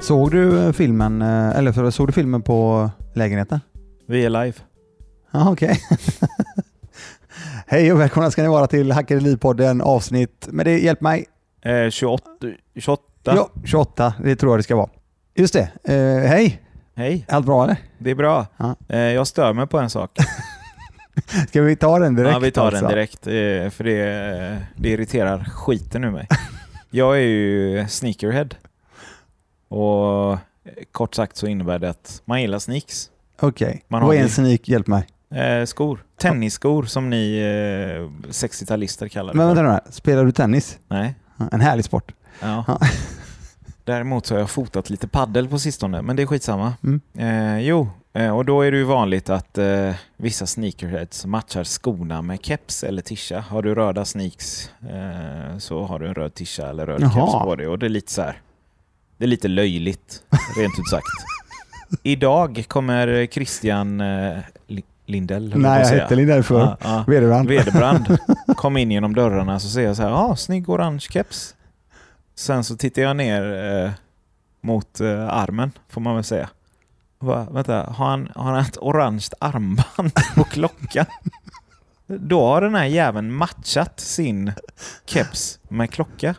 Såg du filmen, eh, eller förlåt, såg du filmen på lägenheten? Vi är live. Ja, okej. Hej och välkomna ska ni vara till Hacker i liv-podden avsnitt, men det hjälp mig, Eh, 28. 28. ja, 28, det tror jag det ska vara. Just det, eh, hej, Hej, allt bra eller? det är bra. Ja. Eh, jag stör mig på en sak. Ska vi ta den direkt? ja, vi tar alltså? den direkt. Eh, för det, eh, det irriterar skiten ur mig. jag är ju sneakerhead. Och eh, kort sagt så innebär det att man gillar sneaks. Okej, Man har vad är ju- en sneak, hjälp mig. Eh, skor. Tennisskor som ni eh, 60-talister kallar det. Men för. vänta nu här, spelar du tennis? Nej. Ja, En härlig sport. Ja. Ja. Däremot så har jag fotat lite paddel på sistone, men det är skitsamma. Mm. Eh, jo, eh, och då är det ju vanligt att eh, vissa sneakerheads matchar skorna med keps eller tisha. Har du röda sneaks eh, så har du en röd tisha eller röd Jaha. keps på dig. Och det är lite så här, det är lite löjligt, rent ut sagt. Idag kommer Christian eh, Li- Lindell, höll jag på Nej, att jag säga. hette Linda därför. Ja, ja. Vederbrand. Vederbrand kom in genom dörrarna så ser jag så här, ja, ah, snygg orange keps. Sen så tittar jag ner eh, mot eh, armen, får man väl säga. Och Bara, vänta, har han, har han ett orange armband på klockan? Då har den här jäveln matchat sin keps med klocka.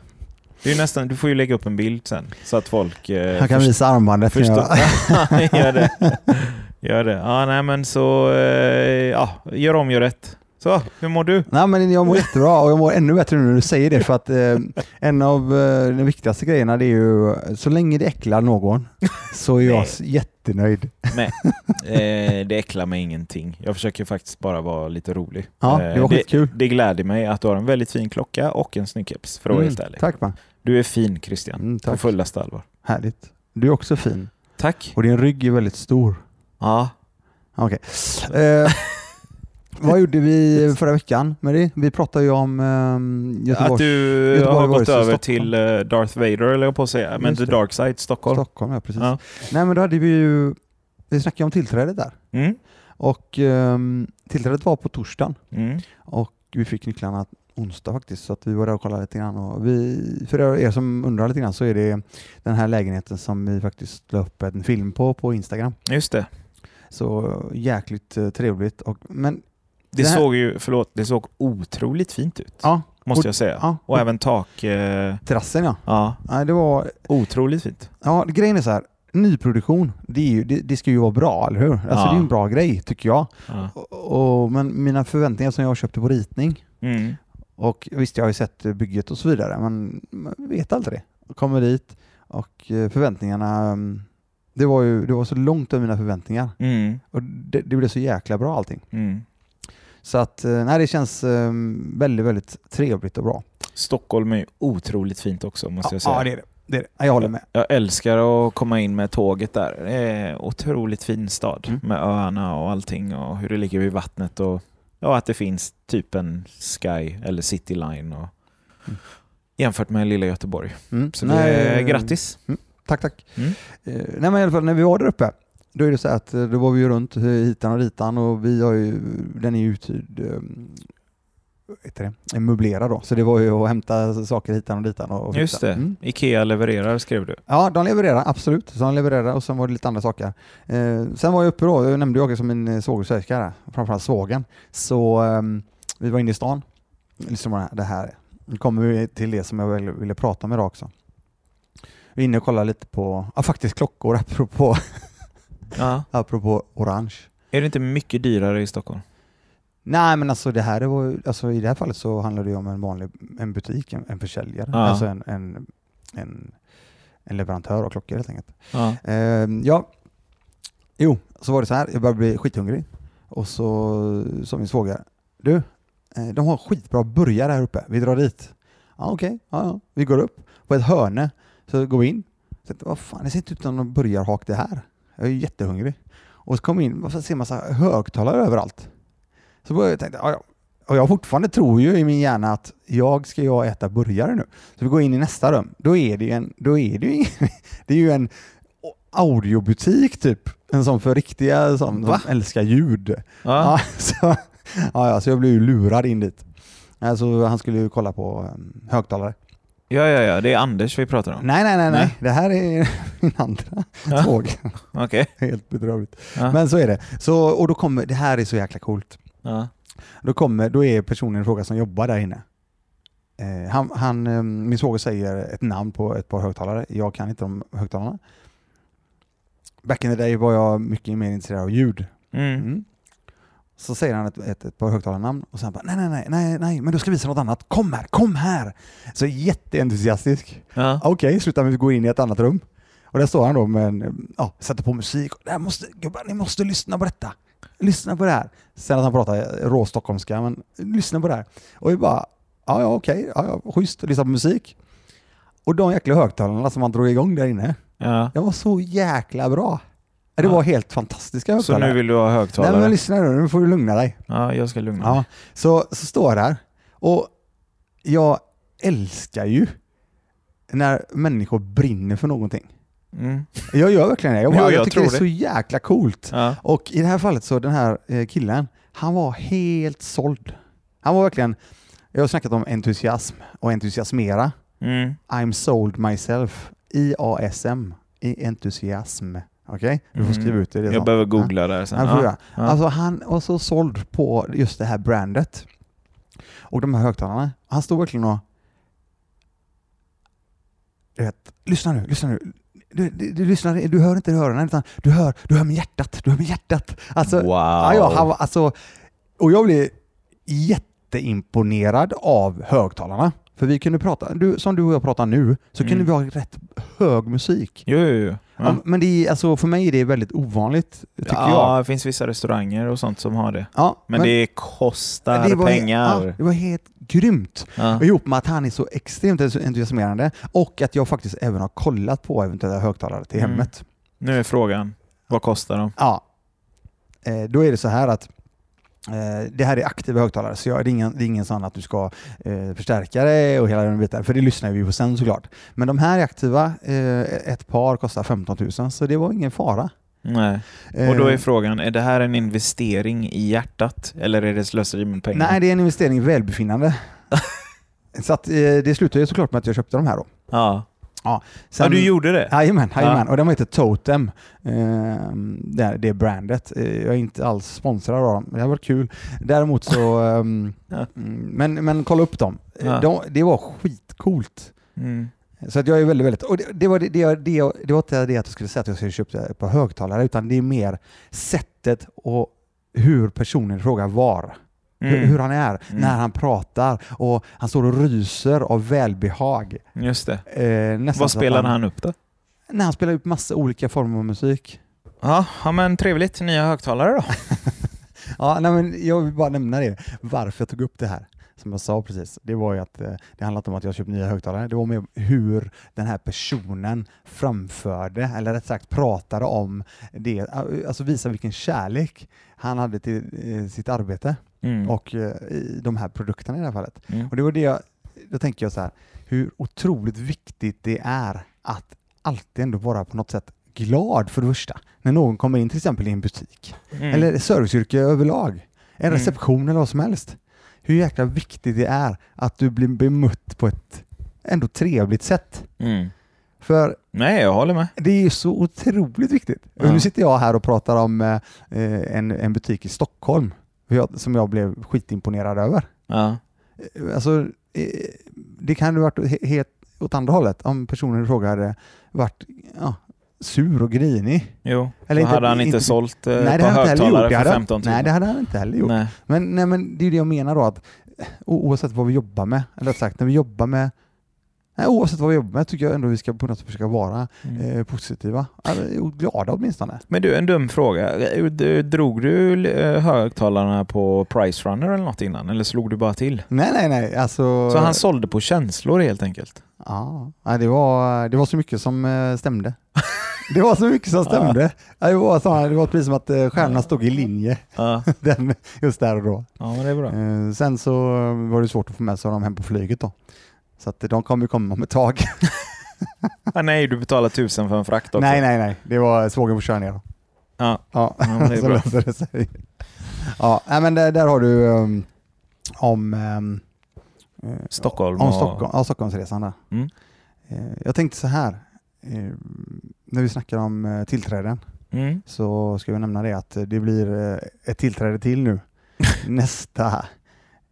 Det är ju nästan, du får ju lägga upp en bild sen så att folk eh, Han kan visa armbandet. kan Förstå. jag- gör det. Gör det. Ja, nej men så... eh, Ja, gör om, gör rätt. Så, hur mår du? Nej, men jag mår jättebra och jag mår ännu bättre nu när du säger det för att eh, en av eh, de viktigaste grejerna det är ju så länge det äcklar någon så är jag s- jättenöjd. Nej, eh, det äcklar mig ingenting. Jag försöker faktiskt bara vara lite rolig. Ja, Eh, det var skitkul. Det, det gläder mig att du har en väldigt fin klocka och en snygg keps, för att vara Mm, helt ärlig. Tack man, Du är fin Christian, Mm, på tack. fullaste allvar. härligt. Du är också fin Tack. och din rygg är väldigt stor. Ja, Okej. Eh, vad gjorde vi förra veckan med det? Vi pratade ju om eh, Göteborg, att du Göteborg har gått versus över Stockholm. till eh, Darth Vader, eller jag på att säga, men Just The det. Dark Side, Stockholm. Stockholm. Ja, precis. Ja. Nej, men då hade vi ju, vi snackade om tillträdet där Mm. och ehm, tillträdet var på torsdagen. Mm. Och vi fick nycklarna onsdag faktiskt, så att vi var där och kollade lite grann. Och vi, för er som undrar lite grann så är det den här lägenheten som vi faktiskt la upp en film på på Instagram. Just det. Så jäkligt eh, trevligt. Och, men Det, Det här- såg ju, förlåt, det såg otroligt fint ut. ja, Måste jag säga. ja. Och även tak. Eh, terrassen ja. ja, Nej, det var, otroligt fint. ja. Grejen är så här, nyproduktion, det, är ju, det, det ska ju vara bra, eller hur? Alltså Ja. det är ju en bra grej tycker jag. Ja. Och, och, men mina förväntningar som jag köpte på ritning, Mm. Och visst, jag har ju sett eh, bygget och så vidare, men man vet aldrig det. Kommer dit och eh, förväntningarna, mm, det var ju det var så långt över mina förväntningar. Mm. Och det, det blev så jäkla bra allting. Mm. Så att, eh, nej, det känns eh, väldigt, väldigt trevligt och bra. Stockholm är ju otroligt fint också, måste jag säga. Ja, det är det. det, är det. Ja, Jag håller med. Jag älskar att komma in med tåget där. Det är en otroligt fin stad Mm. med öarna och allting och hur det ligger vid vattnet och ja, att det finns typ en Sky eller City Line och, Mm. jämfört med lilla Göteborg. Mm. Så det, grattis! Tack, tack. Mm. Eh, nej, men i alla fall när vi var där uppe, då är det så här att eh, då var vi ju runt eh, hitan och ditan och vi har ju, den är ju uthyrd, eh, vad heter det, möblerad då. Så det var ju att hämta saker hitan och ditan och och fixa. Just det, Mm. Ikea levererar skrev du. Ja, de levererar, absolut. Så de levererar och sen var det lite andra saker. Eh, sen var jag uppe då, jag nämnde jag som min eh, svågersväska där, framförallt svågen. Så ehm, vi var inne i stan, liksom det här- det här. Nu kommer vi till det som jag väl ville prata om idag också. Vi är inne och kollar lite på, ja faktiskt klockor apropå, Ja. apropå orange. Är det inte mycket dyrare i Stockholm? Nej men alltså det här det var ju- alltså i det här fallet så handlar det ju om en vanlig en butik, en, en försäljare, Ja. alltså en, en, en, en leverantör av klockor helt enkelt. Ja. Ehm, ja, jo, så var det så här. Jag började bli skithungrig. Och så sa min svåger, du, eh, de har skitbra burgare här uppe. Vi drar dit. Ja, okej. Ja, ja. Vi går upp på ett hörne. Så går vi in. Så, tänkte, vad fan, det ser inte ut som någon burgarhak det här. Jag är ju jättehungrig. Och så kom vi in och så ser man massa högtalare överallt. Så började jag tänka, ja, ja. Och jag fortfarande tror ju i min hjärna att jag ska jag äta burgare nu. Så vi går in i nästa rum. Då är det ju en, då är det ju, ingen- det är ju en audiobutik typ. En sån för riktiga som Va? de älskar ljud. Ja. Ja, så, ja, ja, så jag blev ju lurad in dit. Alltså, han skulle ju kolla på eh, ehm, högtalare. Ja, ja, ja. Det är Anders vi pratar om. Nej, nej, nej, nej. Nej. Det här är min andra Ja. svåger. Okej. Helt bedrövligt. Ja. Men så är det. Så, och då kommer, det här är så jäkla coolt. Ja. Då, kommer, då är personen i fråga som jobbar där inne. Eh, han, han, eh, min svåger säger ett namn på ett par högtalare. Jag kan inte de högtalarna. Back in the day var jag mycket mer intresserad av ljud. Mm. Mm. Så säger han ett, ett, ett par högtalarnamn och sen bara nej, nej, nej, nej, nej, men du ska visa något annat. Kom här, kom här! Så jätteentusiastisk. Ja. Okej, slutar med att gå in i ett annat rum. Och där står han då med en, eh, ja, sätter på musik. Det här måste, gubbar, ni måste lyssna på detta. Lyssna på det här. Sen att han pratar rå stockholmska, men lyssna på det här. Och vi bara, ja, ja, okej, ja, ja, schysst, lyssna på musik. Och de jäkla högtalarna som han drog igång där inne, ja. de var så jäkla bra. Det var helt fantastiska Så högtalare. nu vill du ha Nej men högtalare? lyssna nu, nu får du lugna dig. Ja, jag ska lugna mig. Ja. Så, så står jag där och jag älskar ju när människor brinner för någonting. Mm. Jag gör verkligen det. Jag, Jo, bara, jag, jag tycker det tror är så jäkla coolt. Ja. Och i det här fallet så den här eh, killen, han var helt såld. Han var verkligen, jag har snackat om entusiasm och entusiasmera. Mm. I'm sold myself. IASM. I entusiasm. Okej? Du får Mm. skriva ut det. det är Jag sant. behöver googla där sen. Han, får Ja. göra. Alltså, han var så såld på just det här brandet och de här högtalarna. Han stod verkligen och... Du vet, lyssna nu, lyssna nu. Du, du, du, lyssnar, du hör inte i öronen, utan du hör, du hör med hjärtat. Du hör med hjärtat. Alltså, wow. ja, ja, han, var- alltså, och jag blev jätteimponerad av högtalarna. För vi kunde prata, du, som du och jag pratar nu, så Mm. kunde vi ha rätt hög musik. Jo, jo, jo. Ja. Men det är, alltså, för mig är det väldigt ovanligt, tycker jag. ja, det finns vissa restauranger och sånt som har det. Ja, Men, det kostar det var- Ja, pengar. det var helt grymt. Ja. Och ihop med att han är så extremt entusiasmerande och att jag faktiskt även har kollat på eventuella högtalare till Mm. hemmet. Nu är frågan, vad kostar de? Ja. Eh, då är det så här att eh, det här är aktiva högtalare, så jag, det, är ingen, det är ingen sån att du ska eh, förstärka det och hela den biten, för det lyssnar vi på sen såklart. Men de här är aktiva, eh, ett par kostar 15 000, så det var ingen fara. Nej. Och då Eh, är frågan, är det här en investering i hjärtat eller är det slöseri med pengar? Nej, det är en investering i välbefinnande. så att, eh, det slutade ju såklart med att jag köpte de här då. ja. Sen- ja, du gjorde det? Jajamän, jajamän. Ja. och de heter Totem. Eh, det, här- det är brandet. Eh, jag är inte alls sponsrad av dem, men det har varit kul. Däremot så... ehm, Ja. mm, men, men kolla upp dem. Eh, Ja. De, det var skitcoolt. Mm. Så att jag är väldigt, väldigt... Och det, det, var, det, det, jag- det, jag- det var inte det att jag skulle säga att jag skulle köpa ett par högtalare, utan det är mer sättet och hur personen i fråga var. Hur, Mm. hur han är, Mm. när han pratar och han står och ryser av välbehag. Mm. Just det. Eh, nästan så Vad att spelade han upp då? Nej, han spelar upp massa olika former av musik. Ja, ja, men trevligt. Nya högtalare då. Ja, nej, men jag vill bara nämna det, varför jag tog upp det här. Som jag sa precis, det var ju att eh, det handlade inte om att jag köpt nya högtalare. Det var mer hur den här personen framförde, eller rätt sagt pratade om det, alltså visa vilken kärlek han hade till eh, sitt arbete Mm. och eh, i de här produkterna i det här fallet. Mm. Och det var det jag, då tänker jag så här, hur otroligt viktigt det är att alltid ändå vara på något sätt glad för det första. När någon kommer in till exempel i en butik, Mm. eller serviceyrke överlag, en Mm. reception eller vad som helst. Hur jäkla viktigt det är att du blir bemött på ett ändå trevligt sätt. Mm. För Nej, jag håller med. det är ju så otroligt viktigt. Ja. Nu sitter jag här och pratar om eh, eh, en, en butik i Stockholm hur jag- som jag blev skitimponerad över. Ja. Eh, alltså, eh, det kan ha varit he- helt åt andra hållet om personen i fråga hade varit ja, sur och grinig. Jo, Eller eller inte- hade han inte, inte- sålt eh, nej, på det hade han inte heller gjort. Eh, högtalare Det för hade, 15 000? nej, det hade han inte heller gjort. Nej. Men, nej, men det är ju det jag menar då, att eh, o- oavsett vad vi jobbar med, eller rätt sagt, när vi jobbar med Nej, oavsett vad vi jobbar med tycker jag ändå vi ska på något sätt försöka vara Mm. eh, positiva. Eller, och glada åtminstone. Men du, en dum fråga. Du- Drog du eh, högtalarna på Price Runner eller något innan? Eller slog du bara till? Nej, nej, nej. Alltså, Så han sålde på känslor helt enkelt? Ja, nej, det var, det var så mycket som eh, stämde. Det var så mycket som stämde. Ja, Det var, så, det var precis som att eh, stjärnorna stod i linje Ja, den, just där och då. ja men det är bra. Eh, Sen så var det svårt att få med sig dem hem på flyget då. Så att de kommer ju komma om ett tag. Ah, nej, du betalar tusen för en frakt också. Nej, nej, nej. Det var svågen får köra ner dem. Ja. Ja, men det är så bra. löser det sig. Ja, nej, men där, där har du um, om um, Eh, Stockholm Om och- Stockholm, ja, Stockholmsresan där. Mm. Eh, Jag tänkte så här, eh, när vi snackar om eh, tillträden Mm. så ska vi nämna det att eh, det blir eh, ett tillträde till nu. nästa.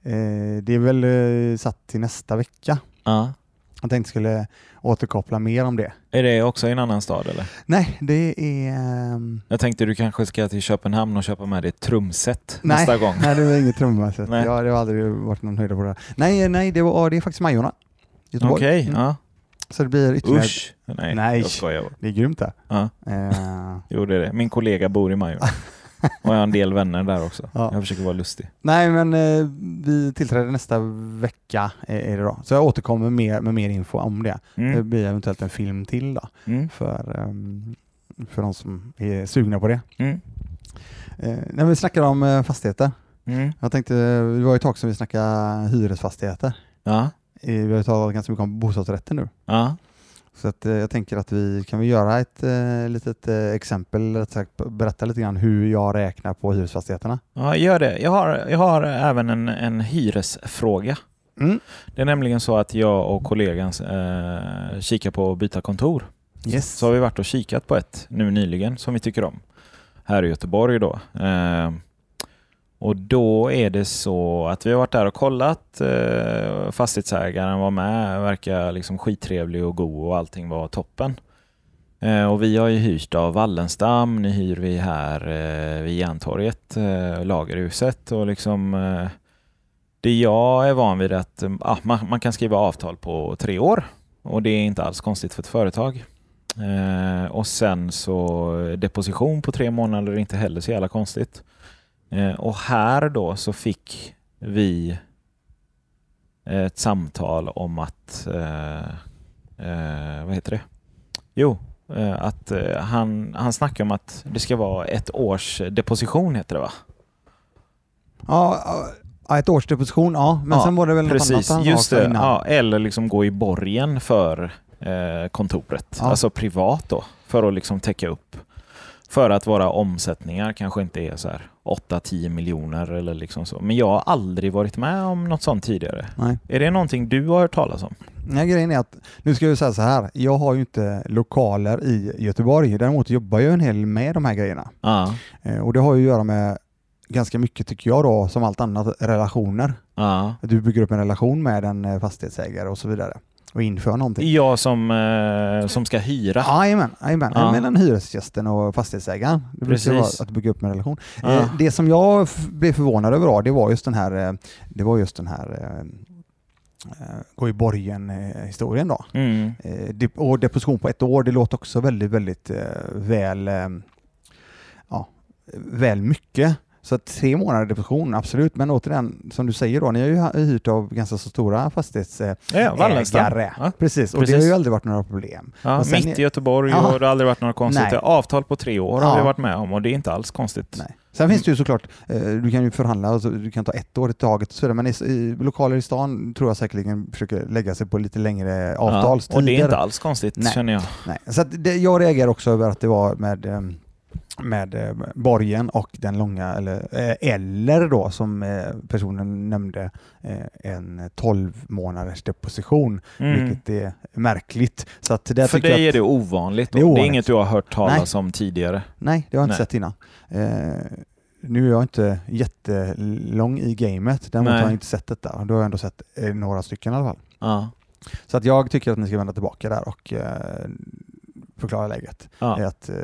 eh, Det är väl eh, satt till nästa vecka. Ja. Jag tänkte skulle återkoppla mer om det. Är det också i en annan stad eller? Nej, det är... ehm, Jag tänkte du kanske ska till Köpenhamn och köpa med dig ett trumset Nej. nästa gång. Nej, det var inget trumma. Så att Nej. jag, det har aldrig varit någon höjdare på det. här. Nej, eh, nej det, var, det är faktiskt Majorna. Okej, Göteborg. Mm. ja. Så det blir ytterligare... Usch. Nej, Nej. jag skojar bara. Det är grymt där. Ja. Eh, Gjorde det. Min kollega bor i Majorna. Och jag har en del vänner där också. Ja. Jag försöker vara lustig. nej, men eh, vi tillträder nästa vecka. eh, Är det då. Så jag återkommer med, med mer info om det. Det Mm. blir eventuellt en film till då, Mm. för, ehm, för de som är sugna på det. Mm. Eh, när vi snackar om eh, fastigheter. Mm. Jag tänkte, eh, det var ju ett tag som vi snackade hyresfastigheter. Ja. Eh, Vi har ju talat ganska mycket om bostadsrätter nu. Ja. Så att, eh, jag tänker att vi kan vi göra ett eh, litet eh, exempel, rätt sagt, berätta lite grann hur jag räknar på hyresfastigheterna. ja, gör det. Jag har, jag har även en, en hyresfråga. Mm. Det är nämligen så att jag och kollegan eh, kikar på att byta kontor. Yes. Så har vi varit och kikat på ett nu nyligen som vi tycker om. Här i Göteborg då. Eh, och då är det så att vi har varit där och kollat. Eh, fastighetsägaren var med, verkar liksom skittrevlig och god och allting var toppen. Eh, och vi har ju hyrt av Wallenstam, nu hyr vi här eh, vid Järntorget, eh, Lagerhuset och liksom eh, det jag är van vid är att eh, ah, man, man kan skriva avtal på tre år och det är inte alls konstigt för ett företag. Eh, och sen så eh, deposition på tre månader är inte heller så jävla konstigt. Eh, och här då så fick vi eh, ett samtal om att, eh, eh, vad heter det? Jo, eh, att eh, han, han snackar om att det ska vara ett års deposition heter det va? Ja, ja, ett års deposition, ja. Men Ja, sen var det väl något annat Precis, han sa just också det. innan. Ja, eller liksom gå i borgen för eh, kontoret. Ja. Alltså privat då, för att liksom täcka upp. För att våra omsättningar kanske inte är så här 8-10 miljoner eller liksom så. Men jag har aldrig varit med om något sånt tidigare. Nej. Är det någonting du har hört talas om? Nej, grejen är att, nu ska jag säga så här, jag har ju inte lokaler i Göteborg, däremot jobbar jag en hel med de här grejerna. Ja. Eh, och det har ju att göra med ganska mycket, tycker jag då, som allt annat, relationer. ja. Att Du bygger upp en relation med en eh, fastighetsägare och så vidare och inför någonting. Jag som, eh, som ska hyra. Jajamän, jajamän. Ja. Mellan hyresgästen och fastighetsägaren. Det brukar vara Precis. att bygga upp en relation. Ja. Eh, Det som jag f- blev förvånad över då, det var just den här, eh, det var just den här eh, eh, gå i borgen eh, historien då. Mm. Eh, dep- Och deposition på ett år, det låter också väldigt, väldigt eh, väl, eh, ja, väl mycket. Så att tre månader deposition, absolut. Men återigen, som du säger då, ni har ju ha- hyrt av ganska så stora fastighetsägare. Ja, Wallenstam. Ja. Precis, och det Precis. har ju aldrig varit några problem. Ja, Och sen mitt är- i Göteborg Ja. och det har aldrig varit några konstigheter. Nej. Avtal på tre år har Ja. vi varit med om och det är inte alls konstigt. Nej. Sen finns det ju såklart, eh, du kan ju förhandla, alltså, du kan ta ett år i taget och så vidare, men i, i lokaler i stan tror jag säkerligen försöker lägga sig på lite längre avtalstider. och det är inte alls konstigt Nej. känner jag. Nej. Så att det, jag reagerar också över att det var med, eh, med eh, borgen och den långa, eller, eh, eller då som eh, personen nämnde, eh, en 12 månaders deposition, Mm. vilket är märkligt. Så att där För tycker jag dig att- är det ovanligt. Det Det är är, det är ovanligt. inget du har hört talas om tidigare. Nej, det har jag inte Nej. sett innan. Eh, nu är jag inte jättelång i gamet, däremot Nej. har jag inte sett detta. Då har jag ändå sett eh, några stycken i alla fall. Ja. Så att jag tycker att ni ska vända tillbaka där och eh, förklara läget. Ja. Är Att, eh,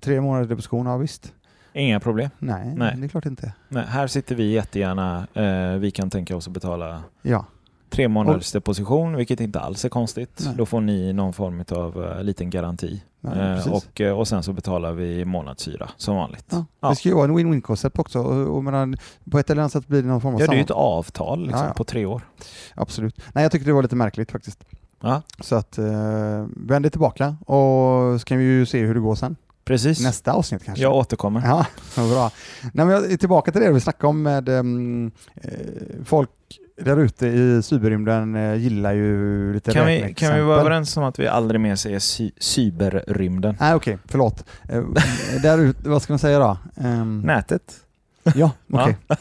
tre månader deposition, ja visst. Inga problem. Nej, Nej. det är klart inte. Nej, här sitter vi jättegärna. Eh, vi kan tänka oss att betala Ja, tre månaders deposition, vilket inte alls är konstigt. Nej. Då får ni någon form av eh, liten garanti. nej, eh, precis. och, eh, och sen så betalar vi månadshyra som vanligt. ja. ja. Det ska ju vara en win-win koncept också. Och, och medan, på ett eller annat sätt blir det någon form av Ja, det är ju ett samarbete. avtal liksom, Ja, ja. på tre år. Absolut. Nej, jag tycker det var lite märkligt faktiskt. Ja. Så att eh, vänd dig tillbaka och så kan vi ju se hur det går sen. Precis. Nästa avsnitt kanske. Jag återkommer. Ja, vad bra. Nej, men jag är tillbaka till det vi snackade om med ehm, eh, folk där ute i cyberrymden eh, gillar ju lite Kan vi, räkneexempel. kan vi vara överens om att vi aldrig mer säger cy- cyberrymden? Nej, okej, förlåt. Eh, där ute, vad Mm. ska man säga då? Ehm, Nätet? Ja, okej.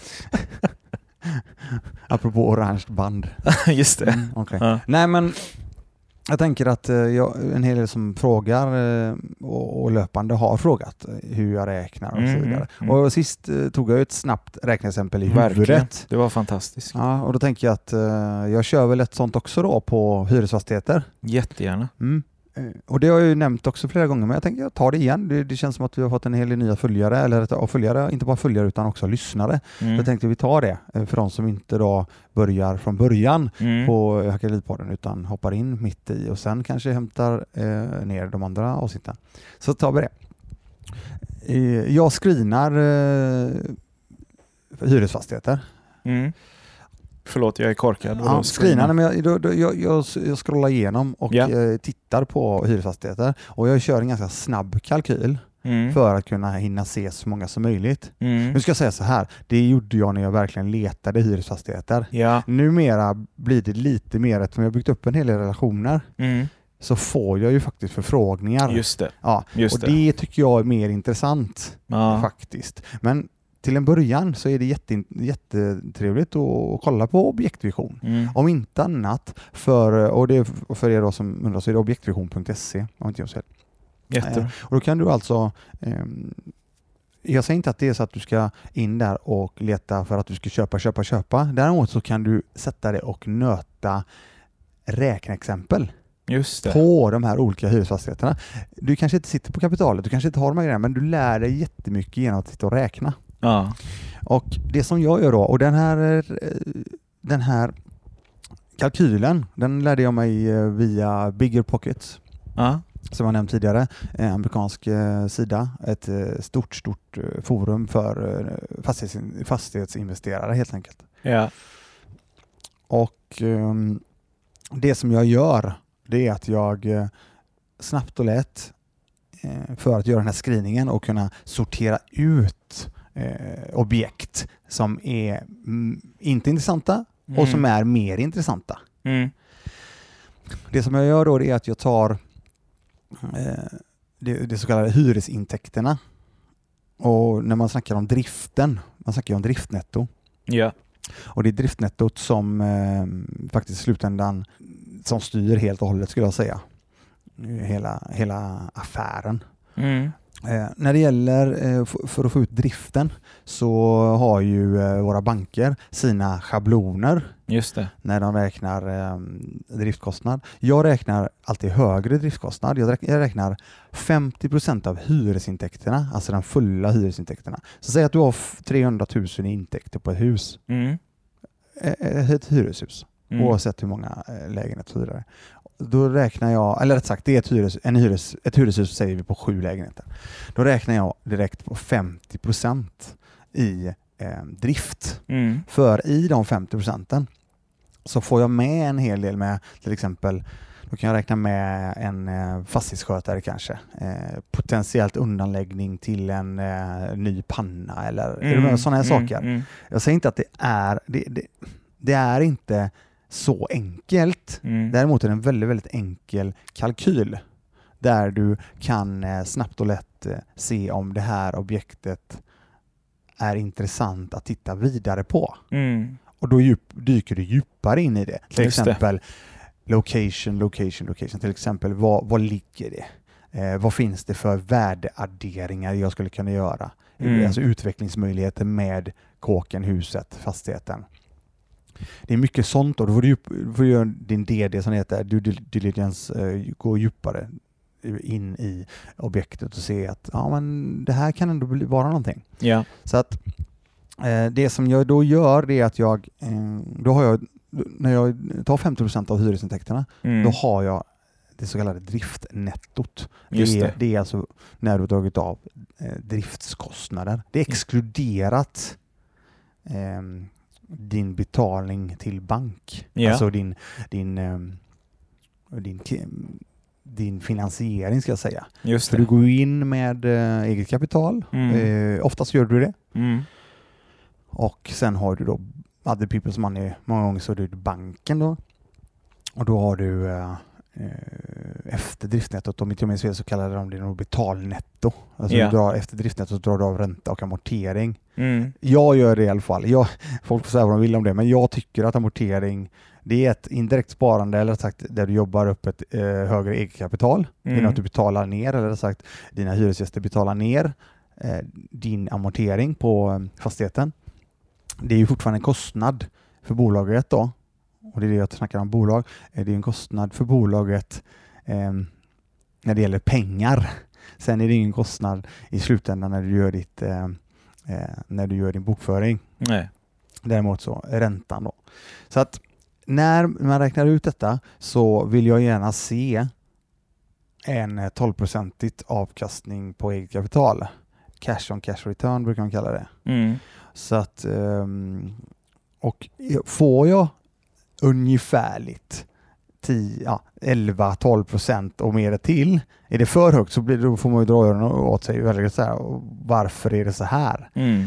Apropå orange band. Just det. Mm, okej. Ja. Nej men jag tänker att eh, jag, en hel del som frågar eh, och, och löpande har frågat eh, hur jag räknar och så Mm, vidare. mm, mm. Och sist eh, tog jag ett snabbt räkneexempel i Verkligen. huvudet. Det var fantastiskt. Ja, och då tänker jag att eh, jag kör väl ett sånt också då på hyresfastigheter. Jättegärna. Mm. Eh, Och det har jag ju nämnt också flera gånger, men jag tänker jag tar det igen. Det, det känns som att vi har fått en hel del nya följare, eller rättare- ja, följare, inte bara följare utan också lyssnare. Mm. Jag tänkte vi tar det eh, för de som inte då börjar från början Mm. på eh, Hackelidpodden utan hoppar in mitt i och sen kanske hämtar eh, ner de andra avsnitten. Så tar vi det. Eh, jag screenar eh, hyresfastigheter. Mm. Förlåt, jag är korkad. Vadå, Ja, screenar, nej, men jag, då, då, jag, jag, jag scrollar igenom och Ja. eh, tittar på hyresfastigheter och jag kör en ganska snabb kalkyl Mm. för att kunna hinna se så många som möjligt. Mm. Nu ska jag säga så här, det gjorde jag när jag verkligen letade hyresfastigheter. Ja. Numera blir det lite mer, eftersom jag har byggt upp en hel del relationer, Mm. så får jag ju faktiskt förfrågningar. Just det. Ja, och Just det. det. tycker jag är mer intressant Ja. faktiskt. Men till en början så är det jätte, jättetrevligt att kolla på objektvision. Mm. Om inte annat, för, och det är f- för er då som undrar, så är det objektvision.se om inte jag säger. Jättebra. Och eh, då kan du alltså ehm, jag säger inte att det är så att du ska in där och leta för att du ska köpa, köpa, köpa. Däremot så kan du sätta dig och nöta räkneexempel Just det. på de här olika hyresfastigheterna. Du kanske inte sitter på kapitalet, du kanske inte har de här grejerna, men du lär dig jättemycket genom att sitta och räkna. Ja. Och det som jag gör då, och den här, eh, den här kalkylen, den lärde jag mig eh, via Bigger Pockets Ja. som jag nämnt tidigare, eh, amerikansk eh, sida, ett eh, stort, stort eh, forum för eh, fastighets, fastighetsinvesterare helt enkelt. Ja. Och ehm, det som jag gör, det är att jag eh, snabbt och lätt eh, för att göra den här screeningen och kunna sortera ut eh, objekt som är mm, inte intressanta och som är mer intressanta. Mm. Det som jag gör då det är att jag tar eh, det, det så kallade hyresintäkterna. Och när man snackar om driften, man snackar ju om driftnetto. Ja. Och det är driftnettot som eh, faktiskt i slutändan som styr helt och hållet skulle jag säga. Eh, Hela, hela affären. Mm. Eh, när det gäller eh, f- för att få ut driften så har ju eh, våra banker sina schabloner Just det. när de räknar eh, driftkostnad. Jag räknar alltid högre driftkostnad. Jag räk- jag räknar 50 av hyresintäkterna, alltså de fulla hyresintäkterna. Så säg att du har f- 300 000 i intäkter på ett hus, Mm. eh, eh, ett hyreshus, Mm. oavsett hur många eh, lägenheter och så vidare. Då räknar jag, eller rätt sagt, det är ett, hyres, en hyres, ett hyreshus säger vi på sju lägenheter. Då räknar jag direkt på 50 i eh, drift. Mm. För i de 50 procenten så får jag med en hel del med till exempel då kan jag räkna med en eh, fastighetsskötare kanske. Eh, potentiellt undanläggning till en eh, ny panna eller är du Mm. med? sådana här Mm. saker. Mm. Jag säger inte att det är, det, det, det är inte så enkelt. Mm. Däremot är det en väldigt, väldigt enkel kalkyl där du kan eh, snabbt och lätt eh, se om det här objektet är intressant att titta vidare på. Mm. Och då djup, dyker du djupare in i det. Till Just det. exempel location, location, location. Till exempel vad, vad ligger det? Eh, vad finns det för värdeadderingar jag skulle kunna göra? Mm. Alltså utvecklingsmöjligheter med kåken, huset, fastigheten. Det är mycket sånt och då får du, djup, då får du göra din DD som det heter, due dil- diligence, eh, gå djupare in i objektet och se att ja, men det här kan ändå bli, vara någonting. Ja. Så att eh, det som jag då gör det är att jag, eh, då har jag, när jag tar 50 av hyresintäkterna, Mm. då har jag det så kallade driftnettot. Just det, är- det. det är alltså när du har dragit av eh, driftskostnader. Det är Mm. exkluderat eh, din betalning till bank. Ja. Alltså din, din, eh, din, ki- din finansiering ska jag säga. Just För du det. går ju in med eh, eget kapital. Mm. Eh, oftast gör du det. Mm. Och sen har du då other people's money. Många gånger så är det banken då. Och då har du eh, eh, efter driftnettot. Om inte jag minns fel så kallade de det nog betalnetto. Alltså Ja. du drar, efter driftnettot drar du av ränta och amortering. Mm. Jag gör det i alla fall. Jag, folk får säga vad de vill om det, men jag tycker att amortering det är ett indirekt sparande, eller rätt sagt där du jobbar upp ett eh, högre egenkapital Mm. genom att du betalar ner, eller rätt sagt dina hyresgäster betalar ner eh, din amortering på eh, fastigheten. Det är ju fortfarande en kostnad för bolaget då, och det är det jag snackar om bolag. Eh, det är en kostnad för bolaget eh, när det gäller pengar. Sen är det ingen kostnad i slutändan när du gör ditt eh, eh, när du gör din bokföring. Nej. Däremot så räntan då. Så att när man räknar ut detta så vill jag gärna se en eh, 12-procentigt avkastning på eget kapital. Cash on cash return brukar man kalla det. Mm. Så att, ehm, och får jag ungefärligt 10, ja, 11-12 procent och mer till, är det för högt så blir, då får man ju dra öronen åt sig. Eller så här, och varför är det så här? Mm.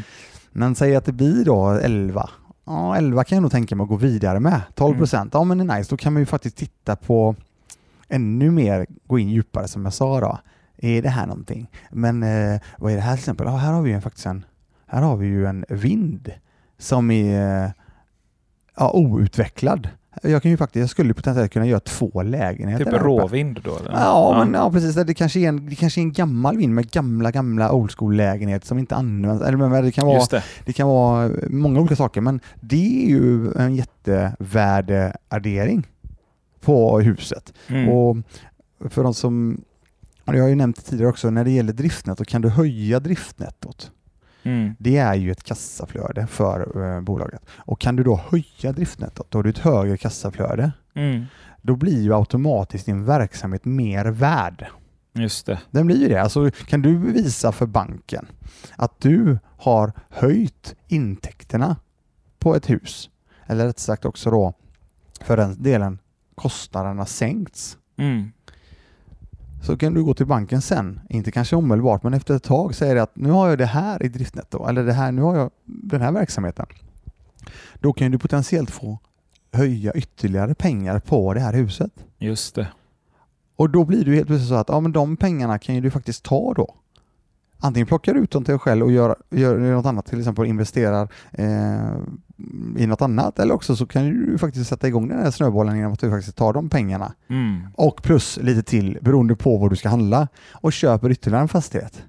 Men säg att det blir då 11. Ja, 11 kan jag nog tänka mig att gå vidare med. 12 procent, ja men det är nice. Då kan man ju faktiskt titta på ännu mer, gå in djupare som jag sa då. Är det här någonting? Men eh, vad är det här till exempel? Ja, här har vi ju en- faktiskt en, här har vi ju en vind som är eh, ja, outvecklad. Jag kan ju faktiskt, jag skulle potentiellt kunna göra två lägenheter. Typ där uppe. råvind då? Eller? Ja, men, ja precis. Det kanske, är en, det kanske är en gammal vind med gamla, gamla old school-lägenhet som inte används. Eller, men det kan vara Just det. det kan vara många olika saker, men det är ju en jättevärdeaddering på huset. Mm. Och för de som, och jag har ju nämnt tidigare också, när det gäller driftnettot, kan du höja driftnettot? Mm. Det är ju ett kassaflöde för eh, bolaget. Och kan du då höja driftnettot, då har du ett högre kassaflöde. Mm. Då blir ju automatiskt din verksamhet mer värd. Just det. Den blir ju det. Alltså, kan du bevisa för banken att du har höjt intäkterna på ett hus, eller rätt sagt också då för den delen kostnaderna sänkts, Mm. så kan du gå till banken sen, inte kanske omedelbart, men efter ett tag säger det att nu har jag det här i driftnetto, eller det här, nu har jag den här verksamheten. Då kan du potentiellt få höja ytterligare pengar på det här huset. Just det. Och då blir det ju helt plötsligt så att ja, men de pengarna kan ju du faktiskt ta då. Antingen plockar du ut dem till dig själv och gör, gör något annat, till exempel investerar eh, i något annat, eller också så kan du ju faktiskt sätta igång den här snöbollen genom att du faktiskt tar de pengarna Mm. och plus lite till beroende på vad du ska handla och köper ytterligare en fastighet.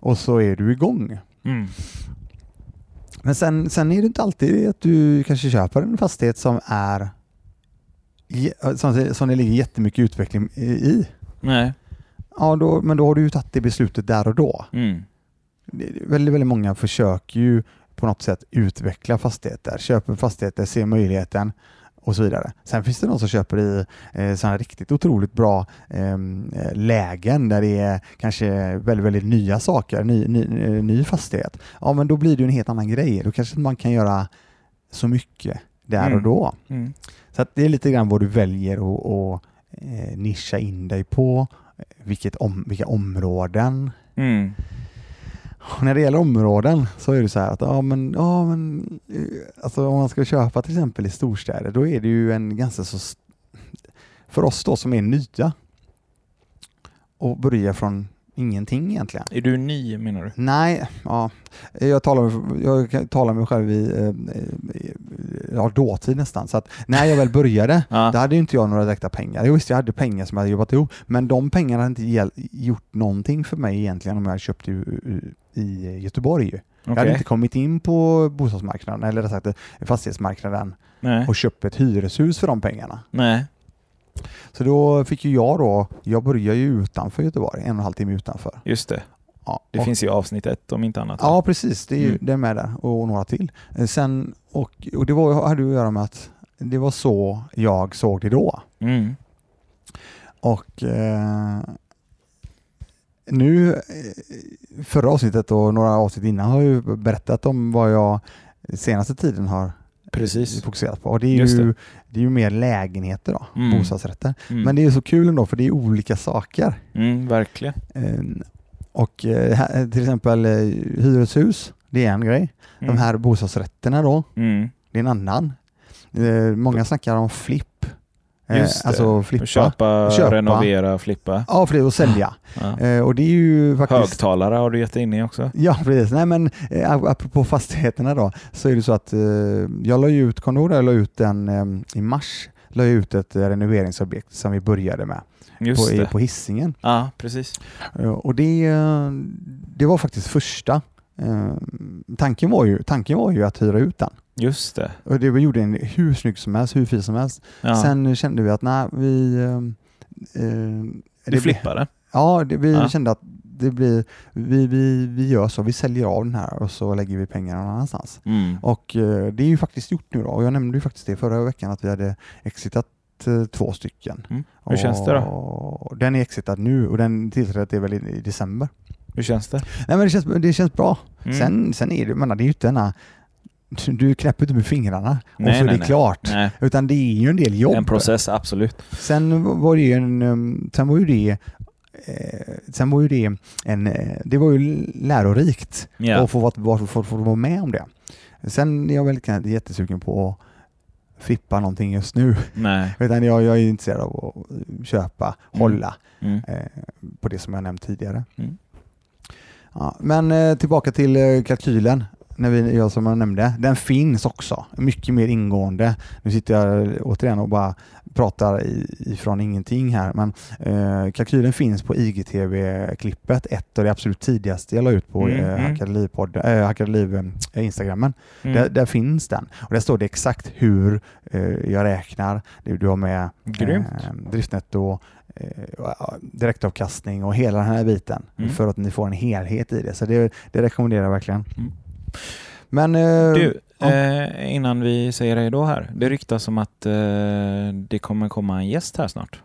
Och så är du igång. Mm. Men sen, sen är det inte alltid att du kanske köper en fastighet som är je- som, som det ligger jättemycket utveckling i. Nej. Ja, då, men då har du ju tagit det beslutet där och då. Mm. Det- Väldigt, väldigt många försöker ju på något sätt utveckla fastigheter, köper fastigheter, ser möjligheten och så vidare. Sen finns det de som köper i eh, sådana riktigt otroligt bra eh, lägen där det är kanske väldigt, väldigt nya saker, ny, ny, eh, ny fastighet. Ja, men då blir det ju en helt annan grej. Då kanske man kan göra så mycket där Mm. och då. Mm. Så att det är lite grann vad du väljer att att, eh, nischa in dig på, eh, vilket om, vilka områden. Mm. Och när det gäller områden så är det så här att ja, men, ja, men, eh, alltså, om man ska köpa till exempel i storstäder då är det ju en ganska så st- för oss då som är nya och börjar från ingenting egentligen. Är du ny menar du? Nej, ja. jag talar med, jag kan- talar med mig själv i eh, eh, ja, dåtid nästan. Så att när jag väl började Ja. Där hade ju inte jag några direkta pengar. Jo, visst, jag hade pengar som jag hade jobbat ihop, men de pengarna hade inte gäll- gjort någonting för mig egentligen om jag hade köpt i, i- i Göteborg. Jag hade Okej. inte kommit in på bostadsmarknaden, eller rättare sagt fastighetsmarknaden, Nej. och köpt ett hyreshus för de pengarna. Nej. Så då fick ju jag då, jag började ju utanför Göteborg, en och en halv timme utanför. Just det. Ja, Det och- finns ju avsnitt ett om inte annat. Ja, precis. Det är ju Mm. det är med där och några till. Eh, Sen, och, och det var, hade ju att göra med att det var så jag såg det då. Mm. Och eh, nu, eh, förra avsnittet och några avsnitt innan har jag ju berättat om vad jag senaste tiden har Precis. fokuserat på. Och det är, Just ju, det. det. är ju mer lägenheter då, Mm. bostadsrätter. Mm. Men det är ju så kul ändå för det är olika saker. mm, verkligen. Eh, och eh, här- till exempel eh, hyreshus, det är en grej. Mm. De här bostadsrätterna då, Mm. det är en annan. Eh, många snackar om flipp. Just det. alltså flippa. Köpa, Köpa. renovera, flippa. Ja, för det, och sälja. Ja. Eh, och det är ju faktiskt... Högtalare har du gett in i också. Ja, precis. Nej, men eh, ap- apropå fastigheterna då, så är det så att eh, jag la ju ut, kommer du ihåg det? jag la ut den eh, i mars, la jag ut ett eh, renoveringsobjekt som vi började med Just på, i, det. på hissingen. Ja, precis. Eh, och det, eh, det var faktiskt första. Eh, tanken, var ju, tanken var ju att hyra ut den. Just det. Och det vi gjorde den hur snygg som helst, hur fin som helst. Ja. Sen kände vi att nej, vi... eh, eh, du det blir- flippade. Ja, det, vi Ja. kände att det blir, vi, vi, vi gör så, vi säljer av den här och så lägger vi pengarna någon annanstans. Mm. Och eh, det är ju faktiskt gjort nu då, och jag nämnde ju faktiskt det förra veckan att vi hade exitat eh, två stycken. Mm. Hur känns det då? Och Den är exitad nu och den tillträdet är väl i, i december. Hur känns det? Nej men det känns, det känns bra. Mm. Sen, sen är det, jag menar, det är ju inte denna, du knäpper inte med fingrarna och Nej, så nej, är det nej. klart. Nej, Utan det är ju en del jobb. en process, absolut. Sen var det ju en, um, sen var ju det, eh, sen var ju det en, eh, det var ju lärorikt Ja. att få vara, vara- få, få vara med om det. Sen är jag väl kanske inte jättesugen på att flippa någonting just nu, Nej. utan jag, jag är intresserad av att köpa, Mm. hålla Mm. eh, på det som jag nämnt tidigare. Mm. Ja, men eh, tillbaka till eh, kalkylen. När vi, jag som jag nämnde, den finns också mycket mer ingående. Nu sitter jag eh, återigen och bara pratar i- ifrån ingenting här, men eh, kalkylen finns på IGTV-klippet, ett av det absolut tidigaste jag la ut på Mm, mm, mm. eh, Hackade Liv eh, Instagrammen. Där, Mm. där finns den och där står det exakt hur eh, jag räknar. Du, du har med Grymt. eh, driftnetto, eh, och, ja, direktavkastning och hela den här biten Mm. för att ni får en helhet i det. Så det, det rekommenderar jag verkligen. Mm. Men eh, Du, ja. eh, innan vi säger hej då här. Det ryktas om att eh, det kommer komma en gäst här snart.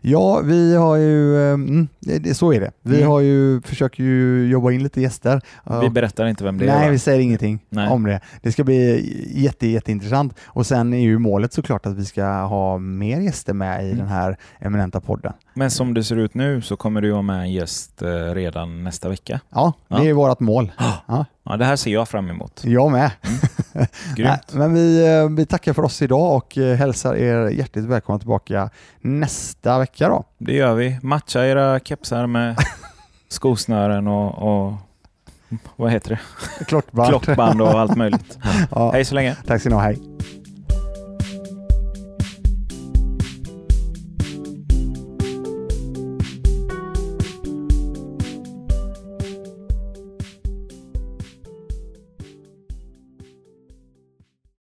ja, vi har ju, eh, mm, det, det, så är det. Vi Mm. har ju, försöker ju jobba in lite gäster. Vi Och- berättar inte vem det är. Nej, va? vi säger ingenting Nej. om det. Det ska bli jätte, jätteintressant. Och sen är ju målet såklart att vi ska ha mer gäster med i Mm. den här eminenta podden. Men som det ser ut nu så kommer du ha med en gäst eh, redan nästa vecka. Ja, det Ja. är vårt mål. Ja, det här ser jag fram emot. Jag med. Nej, Grymt. men vi, eh, vi tackar för oss idag och eh, hälsar er hjärtligt välkomna tillbaka nästa vecka då. Det gör vi. Matcha era kepsar med skosnören och, och vad heter det? Klockan. Klockband och allt möjligt. Ja, Hej så länge. tack ska ni ha, hej.